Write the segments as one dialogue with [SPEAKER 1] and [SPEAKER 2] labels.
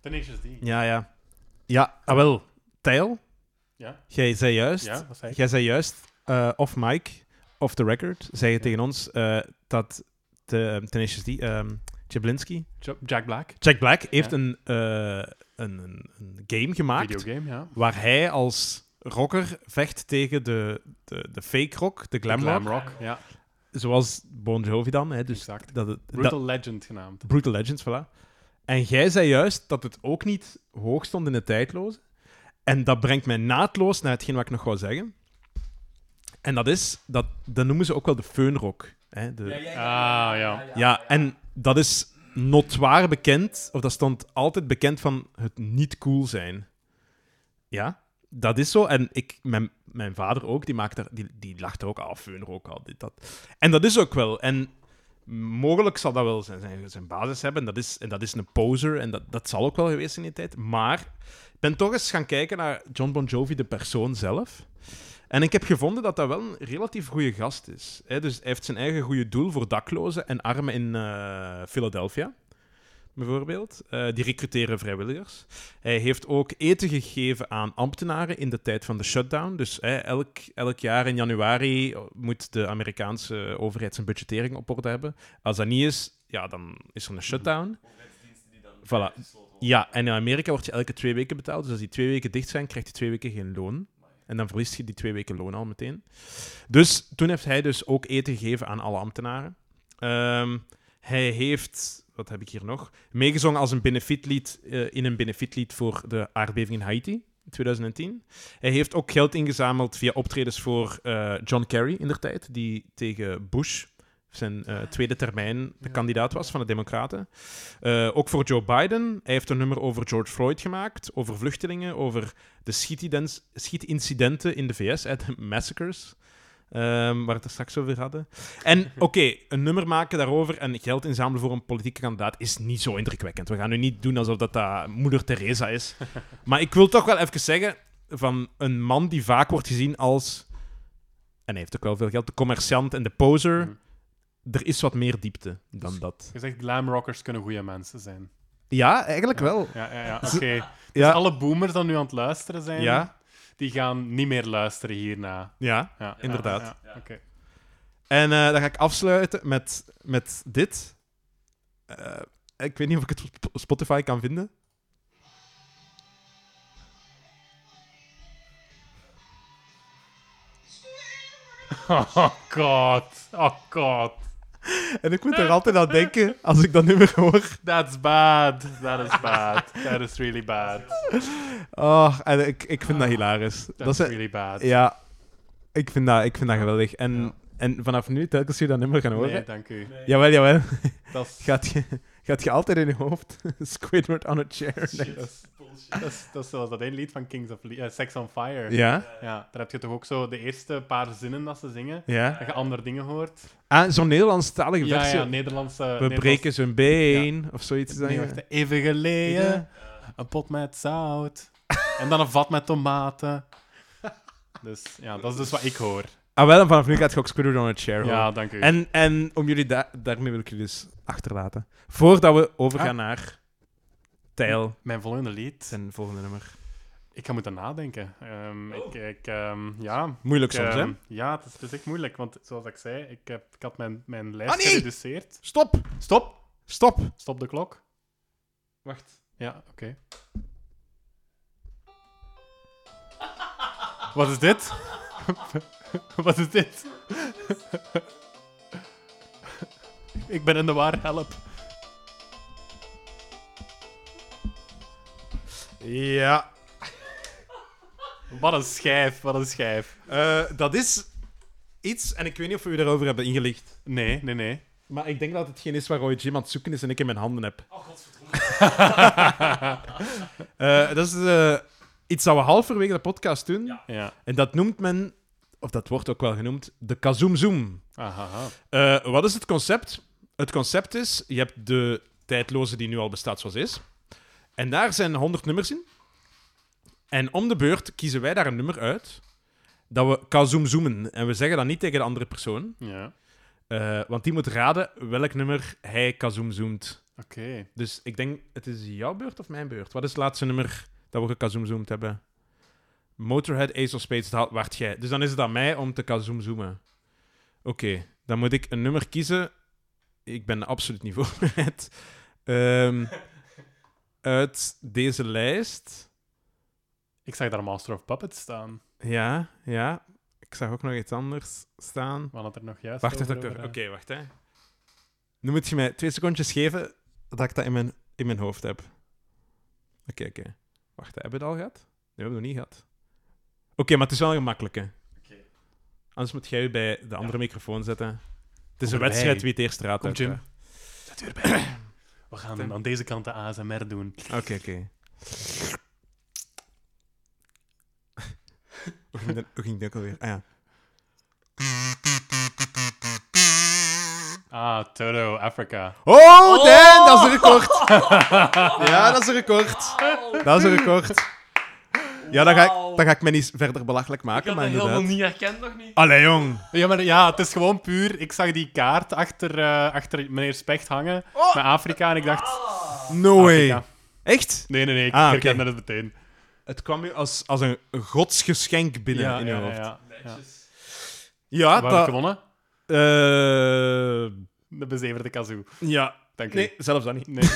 [SPEAKER 1] Tenacious D.
[SPEAKER 2] Ja, ja. Ja, ah, wel. Tijl,
[SPEAKER 1] Ja,
[SPEAKER 2] jij zei juist...
[SPEAKER 1] ja dat zei ik.
[SPEAKER 2] Jij zei juist, eh off mic, off the record, zei je
[SPEAKER 1] Ja.
[SPEAKER 2] tegen ons eh, dat de Tenacious D, ehm Jablinski,
[SPEAKER 1] Ja- Jack Black.
[SPEAKER 2] Jack Black, heeft
[SPEAKER 1] Ja.
[SPEAKER 2] een, eh, een, een, een game gemaakt
[SPEAKER 1] Videogame, ja.
[SPEAKER 2] waar hij als rocker vecht tegen de, de, de fake rock, de glam, rock,
[SPEAKER 1] rock. Ja,
[SPEAKER 2] zoals Bon Jovi dan. Hè, dus
[SPEAKER 1] exact.
[SPEAKER 2] dat het, dat-
[SPEAKER 1] Brutal Legend genaamd.
[SPEAKER 2] Brutal Legends, voilà. En jij zei juist dat het ook niet hoog stond in de tijdloze. En dat brengt mij naadloos naar hetgeen wat ik nog wou zeggen. En dat is, dat, dat noemen ze ook wel de feunrock. Hè? De, ja,
[SPEAKER 1] Ah, ja.
[SPEAKER 2] en dat is notwaar bekend, of dat stond altijd bekend van het niet cool zijn. Ja, dat is zo. En ik, mijn, mijn vader ook, die, maakt daar, die, die lacht er ook af, feunrock, al dit, dat. En dat is ook wel. En mogelijk zal dat wel zijn, zijn, zijn basis hebben. En dat is, en dat is een poser. En dat, dat zal ook wel geweest zijn in die tijd. Maar ik ben toch eens gaan kijken naar John Bon Jovi, de persoon zelf. En ik heb gevonden dat dat wel een relatief goede gast is. hè. dus hij heeft zijn eigen goede doel voor daklozen en armen in eh, Philadelphia. Bijvoorbeeld. Eh, die recruteren vrijwilligers. Hij heeft ook eten gegeven aan ambtenaren in de tijd van de shutdown. Dus hè, elk, elk jaar in januari eh, moet de Amerikaanse overheid zijn budgettering op orde hebben. Als dat niet is, ja, dan is er een shutdown. Voilà. Ja, en in Amerika word je elke twee weken betaald. Dus als die twee weken dicht zijn, krijg je twee weken geen loon. En dan verliest je die twee weken loon al meteen. Dus toen heeft hij dus ook eten gegeven aan alle ambtenaren. Ehm, hij heeft, wat heb ik hier nog, meegezongen als een benefietlied eh, in een benefietlied voor de aardbeving in Haiti in 2010. Hij heeft ook geld ingezameld via optredens voor eh, John Kerry in der tijd, die tegen Bush, zijn eh, tweede termijn, de
[SPEAKER 1] Ja.
[SPEAKER 2] kandidaat was van de Democraten. Eh, ook voor Joe Biden. Hij heeft een nummer over George Floyd gemaakt, over vluchtelingen, over de schietidens- schietincidenten in de VS, eh, de massacres, ehm, waar we het er straks over hadden. En oké, een nummer maken daarover en geld inzamelen voor een politieke kandidaat is niet zo indrukwekkend. We gaan nu niet doen alsof dat, dat moeder Teresa is. Maar ik wil toch wel even zeggen van een man die vaak wordt gezien als, en hij heeft ook wel veel geld, de commerciant en de poser.
[SPEAKER 1] Mhm.
[SPEAKER 2] Er is wat meer diepte dan dat.
[SPEAKER 1] Je zegt glam rockers kunnen goede mensen zijn.
[SPEAKER 2] Ja, eigenlijk wel.
[SPEAKER 1] Ja, ja, ja. Oké. Dus
[SPEAKER 2] Ja,
[SPEAKER 1] alle boomers die nu aan het luisteren zijn,
[SPEAKER 2] ja,
[SPEAKER 1] die gaan niet meer luisteren hierna.
[SPEAKER 2] ja.
[SPEAKER 1] Ja,
[SPEAKER 2] Inderdaad.
[SPEAKER 1] Ja, ja, oké.
[SPEAKER 2] En eh dan ga ik afsluiten met, met dit. Eh, ik weet niet of ik het op Spotify kan vinden.
[SPEAKER 1] Oh god. Oh god.
[SPEAKER 2] En ik moet er altijd aan denken als ik dat nummer hoor.
[SPEAKER 1] That's bad. That is bad. That is really bad.
[SPEAKER 2] Oh, en ik, ik vind dat
[SPEAKER 1] Ah,
[SPEAKER 2] hilarisch. Dat
[SPEAKER 1] That's
[SPEAKER 2] is,
[SPEAKER 1] really bad.
[SPEAKER 2] ja, ik vind dat, ik vind dat geweldig. En,
[SPEAKER 1] Ja.
[SPEAKER 2] en vanaf nu, telkens je dat nummer gaan horen.
[SPEAKER 1] Nee, dank u.
[SPEAKER 2] Jawel, jawel.
[SPEAKER 1] Dat is,
[SPEAKER 2] Gaat je, gaat je altijd in je hoofd. Squidward on a chair.
[SPEAKER 1] dat is, dat is, dat is zoals dat één lied van Kings of Le- eh, Sex on Fire.
[SPEAKER 2] Ja?
[SPEAKER 1] Ja, daar heb je toch ook zo de eerste paar zinnen dat ze zingen,
[SPEAKER 2] Ja.
[SPEAKER 1] dat je andere dingen hoort.
[SPEAKER 2] Ah, zo'n Nederlandstalige
[SPEAKER 1] Ja,
[SPEAKER 2] versie.
[SPEAKER 1] ja, Nederlandse...
[SPEAKER 2] We breken zijn been, of zoiets. is dat,
[SPEAKER 1] Nee,
[SPEAKER 2] ja.
[SPEAKER 1] wacht, even geleden. Een pot met zout. En dan een vat met tomaten. Dus ja, dat is dus wat ik hoor.
[SPEAKER 2] Ah, wel, en vanaf nu gaat je ook Squidward on a chair horen.
[SPEAKER 1] Ja, dank u.
[SPEAKER 2] En, en om jullie da- daarmee wil ik jullie dus achterlaten. Voordat we overgaan
[SPEAKER 1] Ah.
[SPEAKER 2] naar Tijl,
[SPEAKER 1] Mijn volgende lied.
[SPEAKER 2] zijn volgende nummer.
[SPEAKER 1] Ik ga moeten nadenken. Ehm, Ik, ik, ehm, ja,
[SPEAKER 2] Moeilijk
[SPEAKER 1] Ik,
[SPEAKER 2] soms,
[SPEAKER 1] ehm,
[SPEAKER 2] hè?
[SPEAKER 1] Ja, het is, het is echt moeilijk, want zoals ik zei, ik, heb, ik had mijn, mijn lijst
[SPEAKER 2] Ah, nee!
[SPEAKER 1] gereduceerd.
[SPEAKER 2] Stop!
[SPEAKER 1] Stop!
[SPEAKER 2] Stop!
[SPEAKER 1] Stop de klok.
[SPEAKER 2] Wacht.
[SPEAKER 1] Ja, oké. Wat is dit? Wat is dit? ik ben in de war, help.
[SPEAKER 2] Ja.
[SPEAKER 1] Wat een schijf, wat een schijf.
[SPEAKER 2] Eh, dat is iets, en ik weet niet of we u daarover hebben ingelicht.
[SPEAKER 1] Nee, nee, nee.
[SPEAKER 2] Maar ik denk dat het geen is waar Roy Jim aan het zoeken is en ik in mijn handen heb. Oh, godverdomme. dat is eh, iets dat we halverwege de podcast doen.
[SPEAKER 1] Ja.
[SPEAKER 2] En dat noemt men, of dat wordt ook wel genoemd, de kazoomzoom.
[SPEAKER 1] Aha. aha.
[SPEAKER 2] Eh, wat is het concept? Het concept is, je hebt de tijdloze die nu al bestaat zoals is. En daar zijn 100 nummers in. En om de beurt kiezen wij daar een nummer uit dat we kazoomzoomen. En we zeggen dat niet tegen de andere persoon,
[SPEAKER 1] Ja.
[SPEAKER 2] eh, want die moet raden welk nummer hij kazoomzoomt.
[SPEAKER 1] Oké.
[SPEAKER 2] Dus ik denk, het is jouw beurt of mijn beurt? Wat is het laatste nummer dat we gekazoomzoomd hebben? Motorhead, Ace of Spades, dat waart jij. Dus dan is het aan mij om te kazoomzoomen. Oké, dan moet ik een nummer kiezen. Ik ben absoluut niet voorbereid. Ehm, uit deze lijst.
[SPEAKER 1] Ik zag daar Master of Puppets staan.
[SPEAKER 2] Ja, ja. Ik zag ook nog iets anders staan.
[SPEAKER 1] We hadden het er nog juist
[SPEAKER 2] Wacht, wacht,
[SPEAKER 1] over,
[SPEAKER 2] wacht.
[SPEAKER 1] over,
[SPEAKER 2] wacht.
[SPEAKER 1] eh,
[SPEAKER 2] Oké, wacht, hè. Nu moet je mij twee secondjes geven dat ik dat in mijn, in mijn hoofd heb. Oké, oké. Wacht, hè, hebben we het al gehad? Nee, we hebben het nog niet gehad. Oké, maar het is wel een gemakkelijke.
[SPEAKER 1] Oké.
[SPEAKER 2] Anders moet jij je bij de andere microfoon zetten. Het
[SPEAKER 1] Kom
[SPEAKER 2] is een
[SPEAKER 1] erbij.
[SPEAKER 2] wedstrijd wie het eerst raadt.
[SPEAKER 1] Kom, Jim.
[SPEAKER 2] uiteraard.
[SPEAKER 1] Zet u erbij. We gaan hem aan deze kant de ASMR doen.
[SPEAKER 2] Oké, oké. Hoe ging dat- Hoe ging dat ook alweer? Ah ja.
[SPEAKER 1] Ah, Toto, Africa.
[SPEAKER 2] Oh, Dan, dat is een record. ja, dat is een record. Dat is een record. Ja, dan ga, ik, dan ga ik mij niet verder belachelijk
[SPEAKER 3] Ik
[SPEAKER 2] maken,
[SPEAKER 3] had dat
[SPEAKER 2] maar
[SPEAKER 3] helemaal
[SPEAKER 2] inderdaad.
[SPEAKER 3] niet herkend nog niet.
[SPEAKER 2] Allee, jong.
[SPEAKER 1] Ja, maar ja, het is gewoon puur. Ik zag die kaart achter, eh, achter meneer Specht hangen met Afrika en ik dacht.
[SPEAKER 2] No way.
[SPEAKER 1] Afrika.
[SPEAKER 2] Echt?
[SPEAKER 1] Nee, nee, nee, ik
[SPEAKER 2] Ah, oké.
[SPEAKER 1] herkende het meteen.
[SPEAKER 2] Het kwam u als, als een godsgeschenk binnen
[SPEAKER 1] ja,
[SPEAKER 2] in uw
[SPEAKER 1] ja,
[SPEAKER 2] hoofd. Ja,
[SPEAKER 1] ja, ja. We hebben
[SPEAKER 2] dat...
[SPEAKER 1] gewonnen.
[SPEAKER 2] eh,
[SPEAKER 1] De bezeverde kazoo.
[SPEAKER 2] ja.
[SPEAKER 1] Dank u.
[SPEAKER 2] Nee, zelfs dat niet.
[SPEAKER 1] nee.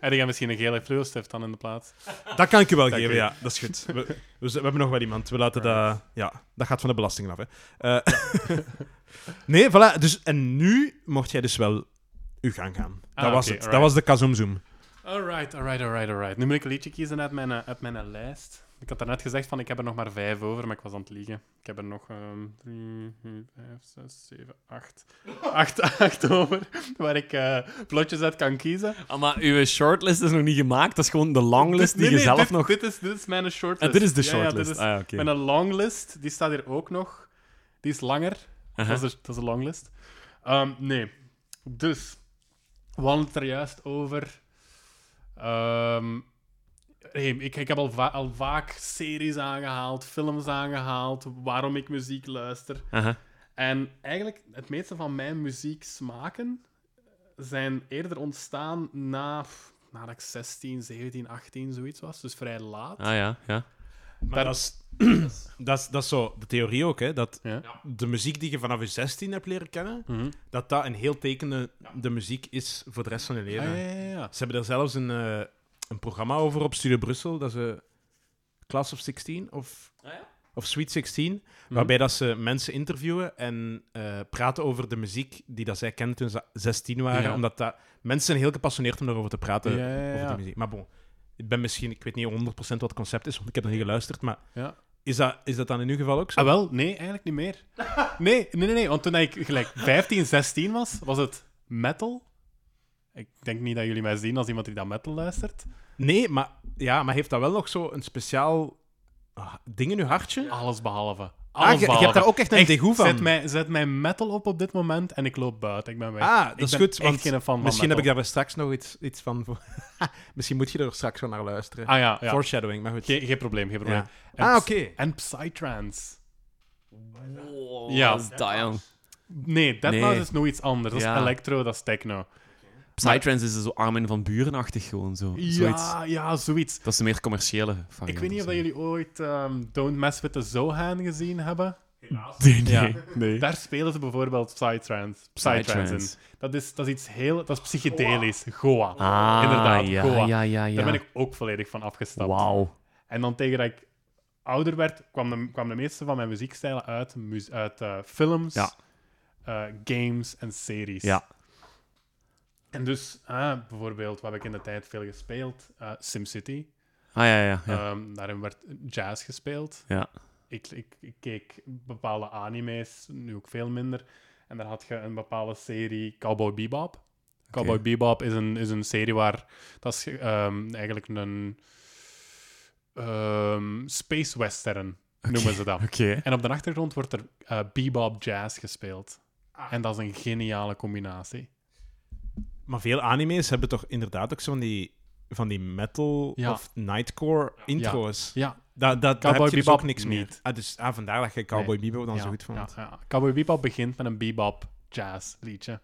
[SPEAKER 1] Heb jij misschien een gele fluostift dan in de plaats?
[SPEAKER 2] Dat kan ik je wel
[SPEAKER 1] Dank
[SPEAKER 2] geven,
[SPEAKER 1] u.
[SPEAKER 2] ja. Dat is goed. We, we, z- we hebben nog wel iemand. We laten dat... Ja, dat gaat van de belasting af, hè. Eh, nee, voilà. Dus, en nu mocht jij dus wel uw gang gaan. Dat
[SPEAKER 1] Ah,
[SPEAKER 2] was
[SPEAKER 1] oké,
[SPEAKER 2] het. Dat
[SPEAKER 1] alright.
[SPEAKER 2] was de kazoomzoom.
[SPEAKER 1] Alright, alright, alright, alright. Nu moet ik een liedje kiezen uit mijn, eh, uit mijn lijst. Ik had daarnet gezegd van ik heb er nog maar vijf over, maar ik was aan het liegen. Ik heb er nog ehm, drie, vier, vijf, zes, zeven, acht. Acht, acht over, waar ik eh, plotjes uit kan kiezen.
[SPEAKER 3] Ah, maar uw shortlist is nog niet gemaakt. Dat is gewoon de
[SPEAKER 1] Dit-
[SPEAKER 3] longlist die
[SPEAKER 1] nee,
[SPEAKER 3] je
[SPEAKER 1] nee,
[SPEAKER 3] zelf
[SPEAKER 1] dit,
[SPEAKER 3] nog...
[SPEAKER 1] Dit is, dit is mijn shortlist.
[SPEAKER 3] Ah, dit is de
[SPEAKER 1] Ja, ja, dit
[SPEAKER 3] shortlist.
[SPEAKER 1] is-
[SPEAKER 3] Ah, ja, oké.
[SPEAKER 1] Mijn longlist, die staat hier ook nog. Die is langer.
[SPEAKER 3] Aha.
[SPEAKER 1] Dat, is de, dat is de longlist. Ehm, nee. Dus, we hadden het er juist over. Ehm, hey, ik, ik heb al, va- al vaak series aangehaald, films aangehaald, waarom ik muziek luister.
[SPEAKER 3] Aha.
[SPEAKER 1] En eigenlijk, het meeste van mijn muzieksmaken zijn eerder ontstaan na, pff, nadat ik 16, 17, 18 zoiets was. Dus vrij laat.
[SPEAKER 3] Ah ja, ja.
[SPEAKER 2] Maar dat is, dat, is, dat is zo de theorie ook, hè. Dat
[SPEAKER 1] Ja.
[SPEAKER 2] de muziek die je vanaf je 16 hebt leren kennen,
[SPEAKER 1] Mhm.
[SPEAKER 2] dat dat een heel tekende de muziek is voor de rest van je leven.
[SPEAKER 1] Ah, ja, ja, ja.
[SPEAKER 2] Ze hebben er zelfs een, eh, een programma over op Studio Brussel. Dat ze Class of 16 of,
[SPEAKER 3] Ah, ja?
[SPEAKER 2] of Sweet 16.
[SPEAKER 1] Mhm.
[SPEAKER 2] Waarbij dat ze mensen interviewen en eh, praten over de muziek die dat zij kenden toen ze 16 waren.
[SPEAKER 1] Ja.
[SPEAKER 2] Omdat dat, mensen zijn heel gepassioneerd om daarover te praten.
[SPEAKER 1] Ja, ja, ja,
[SPEAKER 2] Over
[SPEAKER 1] ja.
[SPEAKER 2] die muziek. Maar bon, ik ben misschien, ik weet niet 100% wat het concept is, want ik heb nog niet geluisterd. Maar
[SPEAKER 1] Ja.
[SPEAKER 2] is dat, is dat dan in uw geval ook zo?
[SPEAKER 1] Ah, wel, nee, eigenlijk niet meer. Nee, nee, nee, nee, want toen ik gelijk 15, 16 was, was het metal. Ik denk niet dat jullie mij zien als iemand die dat metal luistert.
[SPEAKER 2] Nee, maar, ja, maar heeft dat wel nog zo een speciaal ah, ding in uw hartje?
[SPEAKER 1] Alles behalve.
[SPEAKER 2] Ah,
[SPEAKER 1] Alles
[SPEAKER 2] je, je
[SPEAKER 1] behalve.
[SPEAKER 2] hebt daar ook echt een degoe van.
[SPEAKER 1] Zet mij, zet mij metal op op dit moment en ik loop buiten. Ik ben weg.
[SPEAKER 2] Ah, dat
[SPEAKER 1] Ik
[SPEAKER 2] is
[SPEAKER 1] ben
[SPEAKER 2] goed.
[SPEAKER 1] echt
[SPEAKER 2] want
[SPEAKER 1] geen fan van
[SPEAKER 2] misschien heb
[SPEAKER 1] metal.
[SPEAKER 2] ik daar wel straks nog iets, iets van. voor- misschien moet je er straks wel naar luisteren.
[SPEAKER 1] Ah ja, ja.
[SPEAKER 2] Foreshadowing, maar goed.
[SPEAKER 1] Geen, geen probleem, geen probleem.
[SPEAKER 2] Ja.
[SPEAKER 1] En
[SPEAKER 2] Ah,
[SPEAKER 1] ps-
[SPEAKER 2] oké.
[SPEAKER 1] En Psytrance.
[SPEAKER 3] Wow,
[SPEAKER 1] Ja.
[SPEAKER 3] ja. is dat, jong.
[SPEAKER 1] Nee, Deadmau5
[SPEAKER 3] Nee.
[SPEAKER 1] is nog iets anders. Dat
[SPEAKER 3] Ja.
[SPEAKER 1] is electro, dat is techno.
[SPEAKER 3] Psytrance is zo Armin van Burenachtig gewoon zo. Zoiets.
[SPEAKER 1] Ja, ja, zoiets.
[SPEAKER 3] Dat is de meer commerciële variant.
[SPEAKER 1] Ik weet niet of dat jullie ooit ehm, Don't Mess With The Zohan gezien hebben.
[SPEAKER 3] Nee, nee.
[SPEAKER 1] Ja.
[SPEAKER 3] nee.
[SPEAKER 1] Daar spelen ze bijvoorbeeld Psytrance, Psytrance in.
[SPEAKER 3] Psytrance.
[SPEAKER 1] Dat is, dat is iets heel... Dat is psychedelisch. Goa.
[SPEAKER 3] Ah,
[SPEAKER 1] Inderdaad,
[SPEAKER 3] ja,
[SPEAKER 1] Goa.
[SPEAKER 3] ja, ja, ja.
[SPEAKER 1] Daar ben ik ook volledig van afgestapt.
[SPEAKER 3] Wauw.
[SPEAKER 1] En dan tegen dat ik ouder werd, kwam de, kwam de meeste van mijn muziekstijlen uit, mu- uit eh, films,
[SPEAKER 3] Ja.
[SPEAKER 1] eh, games en series.
[SPEAKER 3] Ja.
[SPEAKER 1] En dus, ah, bijvoorbeeld, wat heb ik in de tijd veel gespeeld? Eh, SimCity.
[SPEAKER 3] Ah ja, ja, ja.
[SPEAKER 1] Ehm, daarin werd jazz gespeeld.
[SPEAKER 3] ja.
[SPEAKER 1] ik, ik, ik keek bepaalde anime's, nu ook veel minder. En daar had je een bepaalde serie Cowboy Bebop. Cowboy Bebop is een, is een serie waar dat is ehm, eigenlijk een ehm, space western noemen ze dat.
[SPEAKER 3] Oké.
[SPEAKER 1] En op de achtergrond wordt er eh, bebop jazz gespeeld. En dat is een geniale combinatie.
[SPEAKER 2] Maar veel anime's hebben toch inderdaad ook zo van die, van die metal
[SPEAKER 1] Ja.
[SPEAKER 2] of nightcore intro's.
[SPEAKER 1] Ja,
[SPEAKER 2] Da, da, daar
[SPEAKER 1] Cowboy
[SPEAKER 2] heb je dus ook
[SPEAKER 1] Bebop
[SPEAKER 2] niks meer.
[SPEAKER 1] niet.
[SPEAKER 2] Ah, dus ah, vandaar dat je Cowboy Bebop dan
[SPEAKER 1] ja,
[SPEAKER 2] zo goed vond.
[SPEAKER 1] ja,
[SPEAKER 2] Ja.
[SPEAKER 1] ja. Cowboy Bebop begint met een bebop jazz liedje.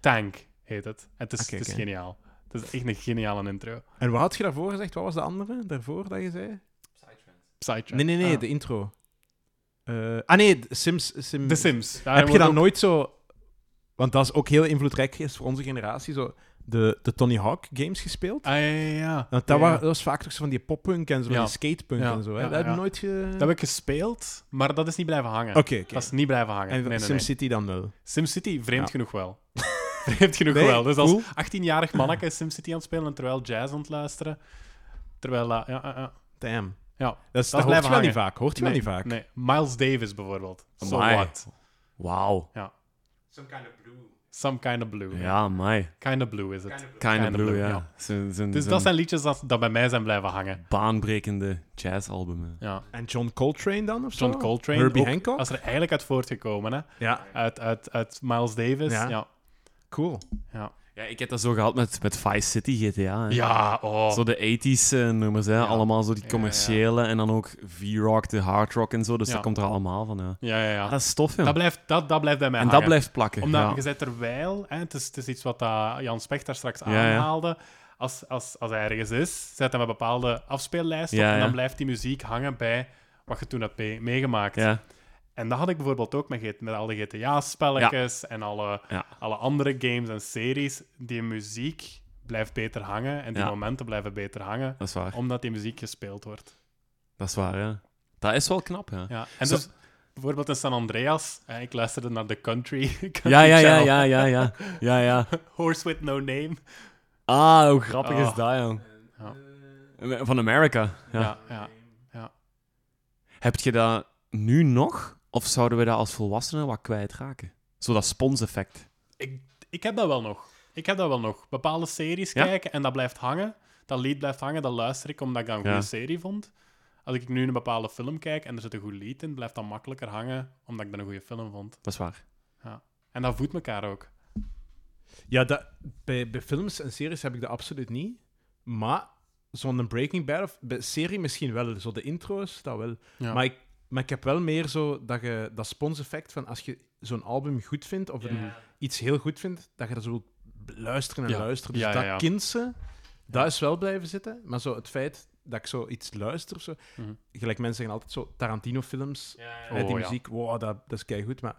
[SPEAKER 1] Tank heet het. Het is,
[SPEAKER 2] Oké,
[SPEAKER 1] het is
[SPEAKER 2] oké.
[SPEAKER 1] geniaal. Het is echt een geniale intro.
[SPEAKER 2] En wat had je daarvoor gezegd? Wat was de andere daarvoor dat je zei?
[SPEAKER 1] Sidetrack.
[SPEAKER 2] Nee, nee, nee,
[SPEAKER 1] Ah.
[SPEAKER 2] de intro. Eh, ah nee, de Sims. Sim-
[SPEAKER 1] The Sims. Daar
[SPEAKER 2] Hmm. Heb je
[SPEAKER 1] Ah, wordt
[SPEAKER 2] dat
[SPEAKER 1] ook-
[SPEAKER 2] nooit zo... Want dat is ook heel invloedrijk geweest voor onze generatie, zo de, de Tony Hawk games gespeeld.
[SPEAKER 1] Ah, ja, ja, ja.
[SPEAKER 2] Want
[SPEAKER 1] Ja, ja.
[SPEAKER 2] dat, wa- dat was vaak toch zo van die poppunk en zo, van
[SPEAKER 1] Ja.
[SPEAKER 2] die skatepunk
[SPEAKER 1] Ja,
[SPEAKER 2] en zo. Hè?
[SPEAKER 1] ja,
[SPEAKER 2] dat heb je
[SPEAKER 1] ja.
[SPEAKER 2] nooit ge...
[SPEAKER 1] Dat heb ik gespeeld, maar dat is niet blijven hangen.
[SPEAKER 2] Oké, oké.
[SPEAKER 1] Dat is niet blijven hangen.
[SPEAKER 2] En
[SPEAKER 1] nee, nee, nee.
[SPEAKER 2] SimCity dan wel.
[SPEAKER 1] SimCity, vreemd
[SPEAKER 2] Ja.
[SPEAKER 1] genoeg wel. vreemd genoeg
[SPEAKER 2] Nee,
[SPEAKER 1] wel. Dus als
[SPEAKER 2] cool.
[SPEAKER 1] 18-jarig manneke is SimCity aan het spelen en terwijl jazz aan het luisteren. Terwijl, eh, ja, ja, ja.
[SPEAKER 2] Damn.
[SPEAKER 1] ja.
[SPEAKER 2] Dat, is,
[SPEAKER 1] Dat
[SPEAKER 2] dat,
[SPEAKER 1] is
[SPEAKER 2] hoort
[SPEAKER 1] blijven
[SPEAKER 2] je wel
[SPEAKER 1] hangen.
[SPEAKER 2] niet vaak. Hoort je
[SPEAKER 1] Nee,
[SPEAKER 2] wel niet vaak.
[SPEAKER 1] Nee. Miles Davis bijvoorbeeld. So
[SPEAKER 3] Amai.
[SPEAKER 1] what?
[SPEAKER 3] Wauw.
[SPEAKER 1] Ja.
[SPEAKER 2] Some kind of blue.
[SPEAKER 1] Some kind of blue.
[SPEAKER 3] Ja, mij.
[SPEAKER 1] Kind of blue is het.
[SPEAKER 3] Kind of
[SPEAKER 1] Kinda
[SPEAKER 3] Blue,
[SPEAKER 1] Blue,
[SPEAKER 3] ja.
[SPEAKER 1] ja.
[SPEAKER 3] Zijn, zijn,
[SPEAKER 1] Dus dat zijn liedjes dat, dat bij mij zijn blijven hangen.
[SPEAKER 3] baanbrekende jazzalbum. hè.
[SPEAKER 1] Ja.
[SPEAKER 2] En John Coltrane dan, of zo?
[SPEAKER 1] John Coltrane.
[SPEAKER 2] Oh. Herbie
[SPEAKER 1] ook,
[SPEAKER 2] Hancock?
[SPEAKER 1] Dat is er eigenlijk uit voortgekomen, hè?
[SPEAKER 2] Ja,
[SPEAKER 1] Uit, uit, uit Miles Davis.
[SPEAKER 2] Ja.
[SPEAKER 1] Ja. Ja.
[SPEAKER 2] cool.
[SPEAKER 1] ja.
[SPEAKER 3] Ja, ik heb dat zo gehad met, met Vice City GTA. hè.
[SPEAKER 1] oh.
[SPEAKER 3] Zo de 80s eh, nummers, hè. allemaal zo die
[SPEAKER 1] Ja,
[SPEAKER 3] commerciële. En dan ook V-Rock, de hard rock en zo. Dus
[SPEAKER 1] Ja.
[SPEAKER 3] dat komt er allemaal van. Ja.
[SPEAKER 1] Ja, ja, ja.
[SPEAKER 3] Ah, dat is stof, ja.
[SPEAKER 1] Dat blijft, dat, dat blijft bij mij
[SPEAKER 3] en dat
[SPEAKER 1] hangen.
[SPEAKER 3] blijft plakken.
[SPEAKER 1] Omdat
[SPEAKER 3] ja.
[SPEAKER 1] je zei terwijl, hè, het, is, het is iets wat dat Jan Specht daar straks
[SPEAKER 3] Ja, ja.
[SPEAKER 1] aanhaalde. Als, als, als hij ergens is, zet hij een bepaalde afspeellijst op
[SPEAKER 3] Ja,
[SPEAKER 1] en
[SPEAKER 3] ja.
[SPEAKER 1] dan blijft die muziek hangen bij wat je toen hebt mee- meegemaakt.
[SPEAKER 3] Ja.
[SPEAKER 1] En dat had ik bijvoorbeeld ook met, G- met al die GTA-spelletjes en alle,
[SPEAKER 3] Ja.
[SPEAKER 1] alle andere games en series. Die muziek blijft beter hangen en die
[SPEAKER 3] Ja.
[SPEAKER 1] momenten blijven beter hangen,
[SPEAKER 3] Dat is waar.
[SPEAKER 1] omdat die muziek gespeeld wordt.
[SPEAKER 3] Dat is waar, ja. Dat is wel knap, ja.
[SPEAKER 1] Ja. En
[SPEAKER 3] Zo-
[SPEAKER 1] dus bijvoorbeeld in San Andreas, hè, ik luisterde naar de country, country
[SPEAKER 3] Ja, ja, ja,
[SPEAKER 1] channel.
[SPEAKER 3] ja, ja, ja. ja, ja.
[SPEAKER 1] Horse with No Name.
[SPEAKER 3] Ah, hoe grappig
[SPEAKER 1] Ah.
[SPEAKER 3] is dat, jong.
[SPEAKER 1] Ja.
[SPEAKER 3] Van America. Ja.
[SPEAKER 1] Ja, ja.
[SPEAKER 3] Heb je dat nu nog? Of zouden we dat als volwassenen wat kwijtraken? Zo dat spons-effect.
[SPEAKER 1] Ik, ik heb dat wel nog. Ik heb dat wel nog. Bepaalde series
[SPEAKER 3] Ja?
[SPEAKER 1] kijken en dat blijft hangen. Dat lied blijft hangen, dat luister ik omdat ik dat een
[SPEAKER 3] Ja.
[SPEAKER 1] goede serie vond. Als ik nu een bepaalde film kijk en er zit een goed lied in, blijft dat makkelijker hangen omdat ik dat een goede film vond.
[SPEAKER 3] Dat is waar.
[SPEAKER 1] En dat voedt elkaar ook.
[SPEAKER 2] Ja, dat, bij, bij films en series heb ik dat absoluut niet. Maar zo'n Breaking Bad of bij serie misschien wel. Zo de intro's, dat wel.
[SPEAKER 1] Ja.
[SPEAKER 2] Maar, ik, maar ik heb wel meer zo dat, je, dat spons-effect van als je zo'n album goed vindt of een- iets heel goed vindt, dat je dat zo wilt b- luisteren en
[SPEAKER 1] Ja.
[SPEAKER 2] luisteren. Dus
[SPEAKER 1] Ja, ja,
[SPEAKER 2] dat
[SPEAKER 1] ja.
[SPEAKER 2] kindse, dat is wel blijven zitten. Maar zo het feit dat ik zoiets luister of zo...
[SPEAKER 1] Mhm.
[SPEAKER 2] Gelijk mensen zeggen altijd zo Tarantino-films,
[SPEAKER 1] ja.
[SPEAKER 2] hè, die
[SPEAKER 1] Oh, ja.
[SPEAKER 2] muziek, wow, dat, dat is keigoed. Maar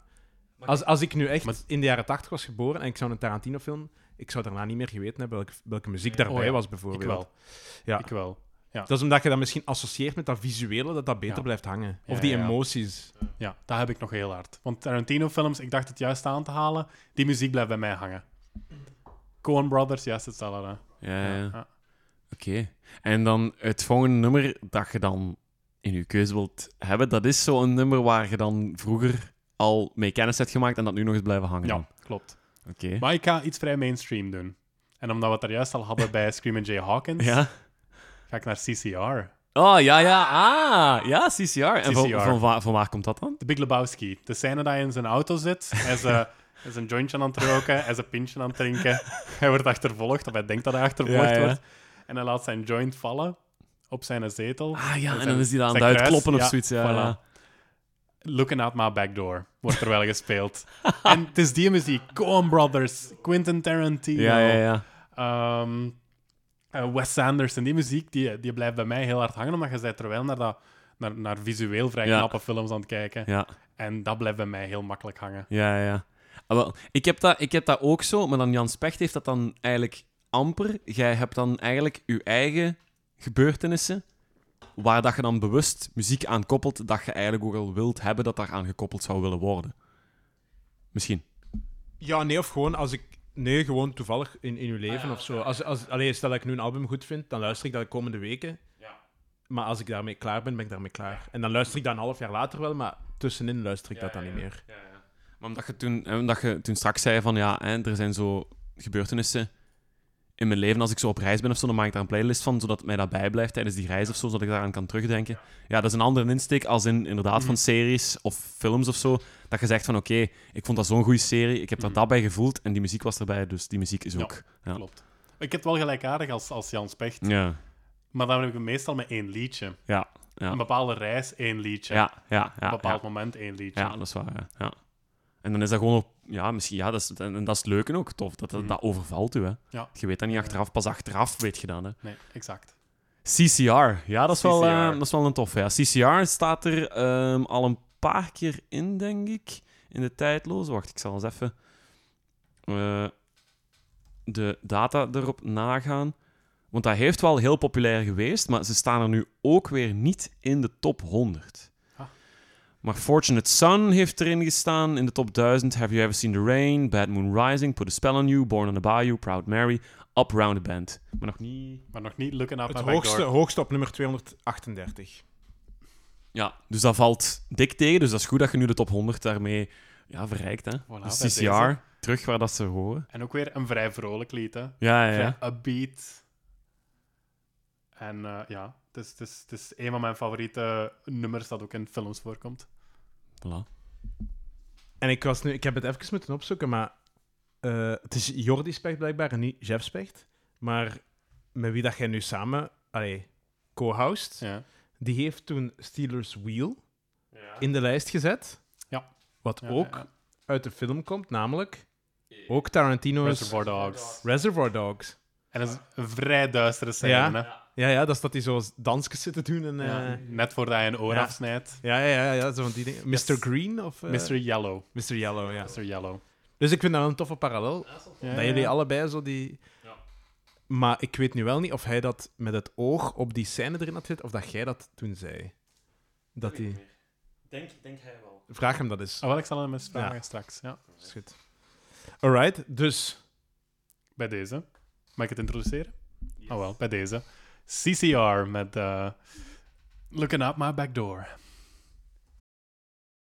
[SPEAKER 2] als, als ik nu echt
[SPEAKER 1] Maar-
[SPEAKER 2] in de jaren tachtig was geboren en ik zou een Tarantino-film... Ik zou daarna niet meer geweten hebben welke, welke muziek daarbij
[SPEAKER 1] Oh, ja.
[SPEAKER 2] was,
[SPEAKER 1] Ik
[SPEAKER 2] bijvoorbeeld.
[SPEAKER 1] wel.
[SPEAKER 2] Ja.
[SPEAKER 1] Ik wel.
[SPEAKER 2] Dat is omdat je dat misschien associeert met dat visuele, dat dat beter
[SPEAKER 1] Ja.
[SPEAKER 2] blijft hangen.
[SPEAKER 1] Ja,
[SPEAKER 2] Of die
[SPEAKER 1] ja, ja.
[SPEAKER 2] emoties.
[SPEAKER 1] Ja, dat heb ik nog heel hard. Want Tarantino-films, ik dacht het juist aan te halen, die muziek blijft bij mij hangen. Coen Brothers, juist hetzelfde. hè.
[SPEAKER 3] Ja, ja. Oké.
[SPEAKER 1] Ja.
[SPEAKER 3] En dan het volgende nummer dat je dan in je keuze wilt hebben, dat is zo'n nummer waar je dan vroeger al mee kennis hebt gemaakt en dat nu nog eens blijven hangen.
[SPEAKER 1] ja
[SPEAKER 3] dan.
[SPEAKER 1] klopt.
[SPEAKER 3] Oké.
[SPEAKER 1] Maar ik ga iets vrij mainstream doen. En omdat we het daar juist al hadden bij Screamin' Jay Hawkins,
[SPEAKER 3] Ja.
[SPEAKER 1] ga ik naar CCR.
[SPEAKER 3] Oh, ja, ja. Ah, ja, CCR. En van,
[SPEAKER 1] CCR.
[SPEAKER 3] van, waar- van waar komt dat dan?
[SPEAKER 1] De Big Lebowski. De scène dat hij in zijn auto zit, hij is, eh, hij is een jointje aan het roken, hij is een pintje aan het drinken. Hij wordt achtervolgd, of hij denkt dat hij achtervolgd
[SPEAKER 3] Ja, ja.
[SPEAKER 1] wordt. En hij laat zijn joint vallen op zijn zetel.
[SPEAKER 3] Ah ja, en
[SPEAKER 1] zijn-
[SPEAKER 3] dan is die daar aan het
[SPEAKER 1] zijn kruis,
[SPEAKER 3] uitkloppen of
[SPEAKER 1] ja,
[SPEAKER 3] zoiets. Ja,
[SPEAKER 1] voilà.
[SPEAKER 3] ja.
[SPEAKER 1] Looking out my back door, wordt er wel gespeeld. en het is die muziek. Coen Brothers, Quentin Tarantino.
[SPEAKER 3] ja, ja, ja.
[SPEAKER 1] Ehm, eh, Wes Anderson, die muziek die, die blijft bij mij heel hard hangen, omdat je bent terwijl naar, dat, naar, naar visueel vrij
[SPEAKER 3] Ja.
[SPEAKER 1] knappe films aan het kijken.
[SPEAKER 3] ja.
[SPEAKER 1] En dat blijft bij mij heel makkelijk hangen.
[SPEAKER 3] Ja, ja, ja. Ah, wel, ik, heb dat, ik heb dat ook zo, maar dan Jan Specht heeft dat dan eigenlijk amper. Jij hebt dan eigenlijk je eigen gebeurtenissen, waar dat je dan bewust muziek aan koppelt, dat je eigenlijk ook al wilt hebben dat daar aan gekoppeld zou willen worden. Misschien.
[SPEAKER 2] Ja, nee, of gewoon als ik... Nee, gewoon toevallig in, in uw leven
[SPEAKER 1] Ah,
[SPEAKER 2] of zo. Als, als, allee, stel dat ik nu een album goed vind, dan luister ik dat de komende weken. Maar als ik daarmee klaar ben, ben ik daarmee klaar. En dan luister ik dat een half jaar later wel, maar tussenin luister ik dat dan niet meer.
[SPEAKER 3] Maar omdat je toen, eh, omdat je toen straks zei van, ja, hè, er zijn zo gebeurtenissen in mijn leven, als ik zo op reis ben of zo, dan maak ik daar een playlist van, zodat mij dat bijblijft tijdens die reis of zo, zodat ik daaraan kan terugdenken. Ja, dat is een andere insteek als in, inderdaad, van
[SPEAKER 1] Mhm.
[SPEAKER 3] series of films of zo, dat je zegt van, oké, ik vond dat zo'n goede serie, ik heb daar dat bij gevoeld en die muziek was erbij, dus die muziek is
[SPEAKER 1] Mhm. Ja,
[SPEAKER 3] ook... Ja,
[SPEAKER 1] Klopt. Ik heb het wel gelijkaardig als, als Jan Specht,
[SPEAKER 3] ja,
[SPEAKER 1] maar dan heb ik meestal met één liedje.
[SPEAKER 3] ja, ja,
[SPEAKER 1] Een bepaalde reis, één liedje.
[SPEAKER 3] ja, ja, ja,
[SPEAKER 1] Een bepaald moment, één liedje.
[SPEAKER 3] ja, dat is waar, ja. ja. En dan is dat gewoon op... Ja, misschien... Ja, dat is, en, en dat is het leuke ook, tof. Dat, dat,
[SPEAKER 1] Mhm.
[SPEAKER 3] dat overvalt u, hè.
[SPEAKER 1] Ja.
[SPEAKER 3] Je weet dat niet
[SPEAKER 1] Ja.
[SPEAKER 3] achteraf. Pas achteraf weet je dat, hè.
[SPEAKER 1] Nee, exact.
[SPEAKER 3] CCR. Ja, dat is, Wel, eh,
[SPEAKER 1] CCR.
[SPEAKER 3] dat is wel een tof. Ja. CCR staat er ehm, al een paar keer in, denk ik. In de tijdloze. Wacht, ik zal eens even eh, de data erop nagaan. Want dat heeft wel heel populair geweest, maar ze staan er nu ook weer niet in de top 100.
[SPEAKER 1] Ah.
[SPEAKER 3] Maar Fortunate Son heeft erin gestaan in de top 1000. Have You Ever Seen the Rain? Bad Moon Rising, Put a Spell on You, Born on a Bayou, Proud Mary, Up Round the Bend. Maar nog niet
[SPEAKER 1] Maar nog niet looking up
[SPEAKER 2] Het
[SPEAKER 1] my
[SPEAKER 2] hoogste,
[SPEAKER 1] backdoor.
[SPEAKER 2] hoogste op nummer 238.
[SPEAKER 3] Ja, dus dat valt dik tegen. Dus dat is goed dat je nu de top 100 daarmee ja, verrijkt. Hè?
[SPEAKER 1] Voilà,
[SPEAKER 3] dus
[SPEAKER 1] bij
[SPEAKER 3] CCR,
[SPEAKER 1] deze.
[SPEAKER 3] terug waar dat ze horen.
[SPEAKER 1] En ook weer een vrij vrolijk lied, hè.
[SPEAKER 3] Ja, ja,
[SPEAKER 1] Vrij
[SPEAKER 3] ja.
[SPEAKER 1] upbeat. En eh, ja, het is, het, is, het is een van mijn favoriete nummers dat ook in films voorkomt.
[SPEAKER 3] Voilà.
[SPEAKER 2] En ik, was nu, ik heb het even moeten opzoeken, maar eh, het is Jordi Specht blijkbaar en niet Jeff Specht. Maar met wie dat jij nu samen allee, co-host,
[SPEAKER 1] Ja.
[SPEAKER 2] die heeft toen Steelers Wheel in de lijst gezet.
[SPEAKER 1] Ja.
[SPEAKER 2] Wat
[SPEAKER 1] Ja,
[SPEAKER 2] ook
[SPEAKER 1] ja, ja. Eh,
[SPEAKER 2] uit de film komt, namelijk ook Tarantino's
[SPEAKER 1] Reservoir Dogs.
[SPEAKER 2] Reservoir Dogs.
[SPEAKER 1] En dat is een vrij duistere scène,
[SPEAKER 2] Ja.
[SPEAKER 1] hè.
[SPEAKER 2] Ja, ja, dat is dat hij zo dansjes zit te doen. En, eh,
[SPEAKER 1] Ja, Net voordat hij een oor
[SPEAKER 2] Ja.
[SPEAKER 1] afsnijdt.
[SPEAKER 2] ja. ja, ja, ja, zo van die dingen. Mr.
[SPEAKER 1] Yes.
[SPEAKER 2] Green of... eh,
[SPEAKER 1] Mr. Yellow.
[SPEAKER 2] Mr. Yellow, ja.
[SPEAKER 1] Mr. Yellow.
[SPEAKER 2] Dus ik vind dat een toffe parallel.
[SPEAKER 1] Ja,
[SPEAKER 2] Dat
[SPEAKER 1] ja,
[SPEAKER 2] jullie
[SPEAKER 1] ja.
[SPEAKER 2] allebei zo die... Maar ik weet nu wel niet of hij dat met het oog op die scène erin had gezet, of dat jij dat toen zei. Dat die...
[SPEAKER 3] Denk, denk hij wel.
[SPEAKER 2] Vraag hem dat eens.
[SPEAKER 1] Ah, wel, ik zal hem eens vragen
[SPEAKER 2] Ja.
[SPEAKER 1] straks. Ja.
[SPEAKER 2] Is goed. Alright, dus...
[SPEAKER 1] Bij deze. Mag ik het introduceren? Ah, Oh wel, bij deze. CCR met eh Looking Out My Back Door.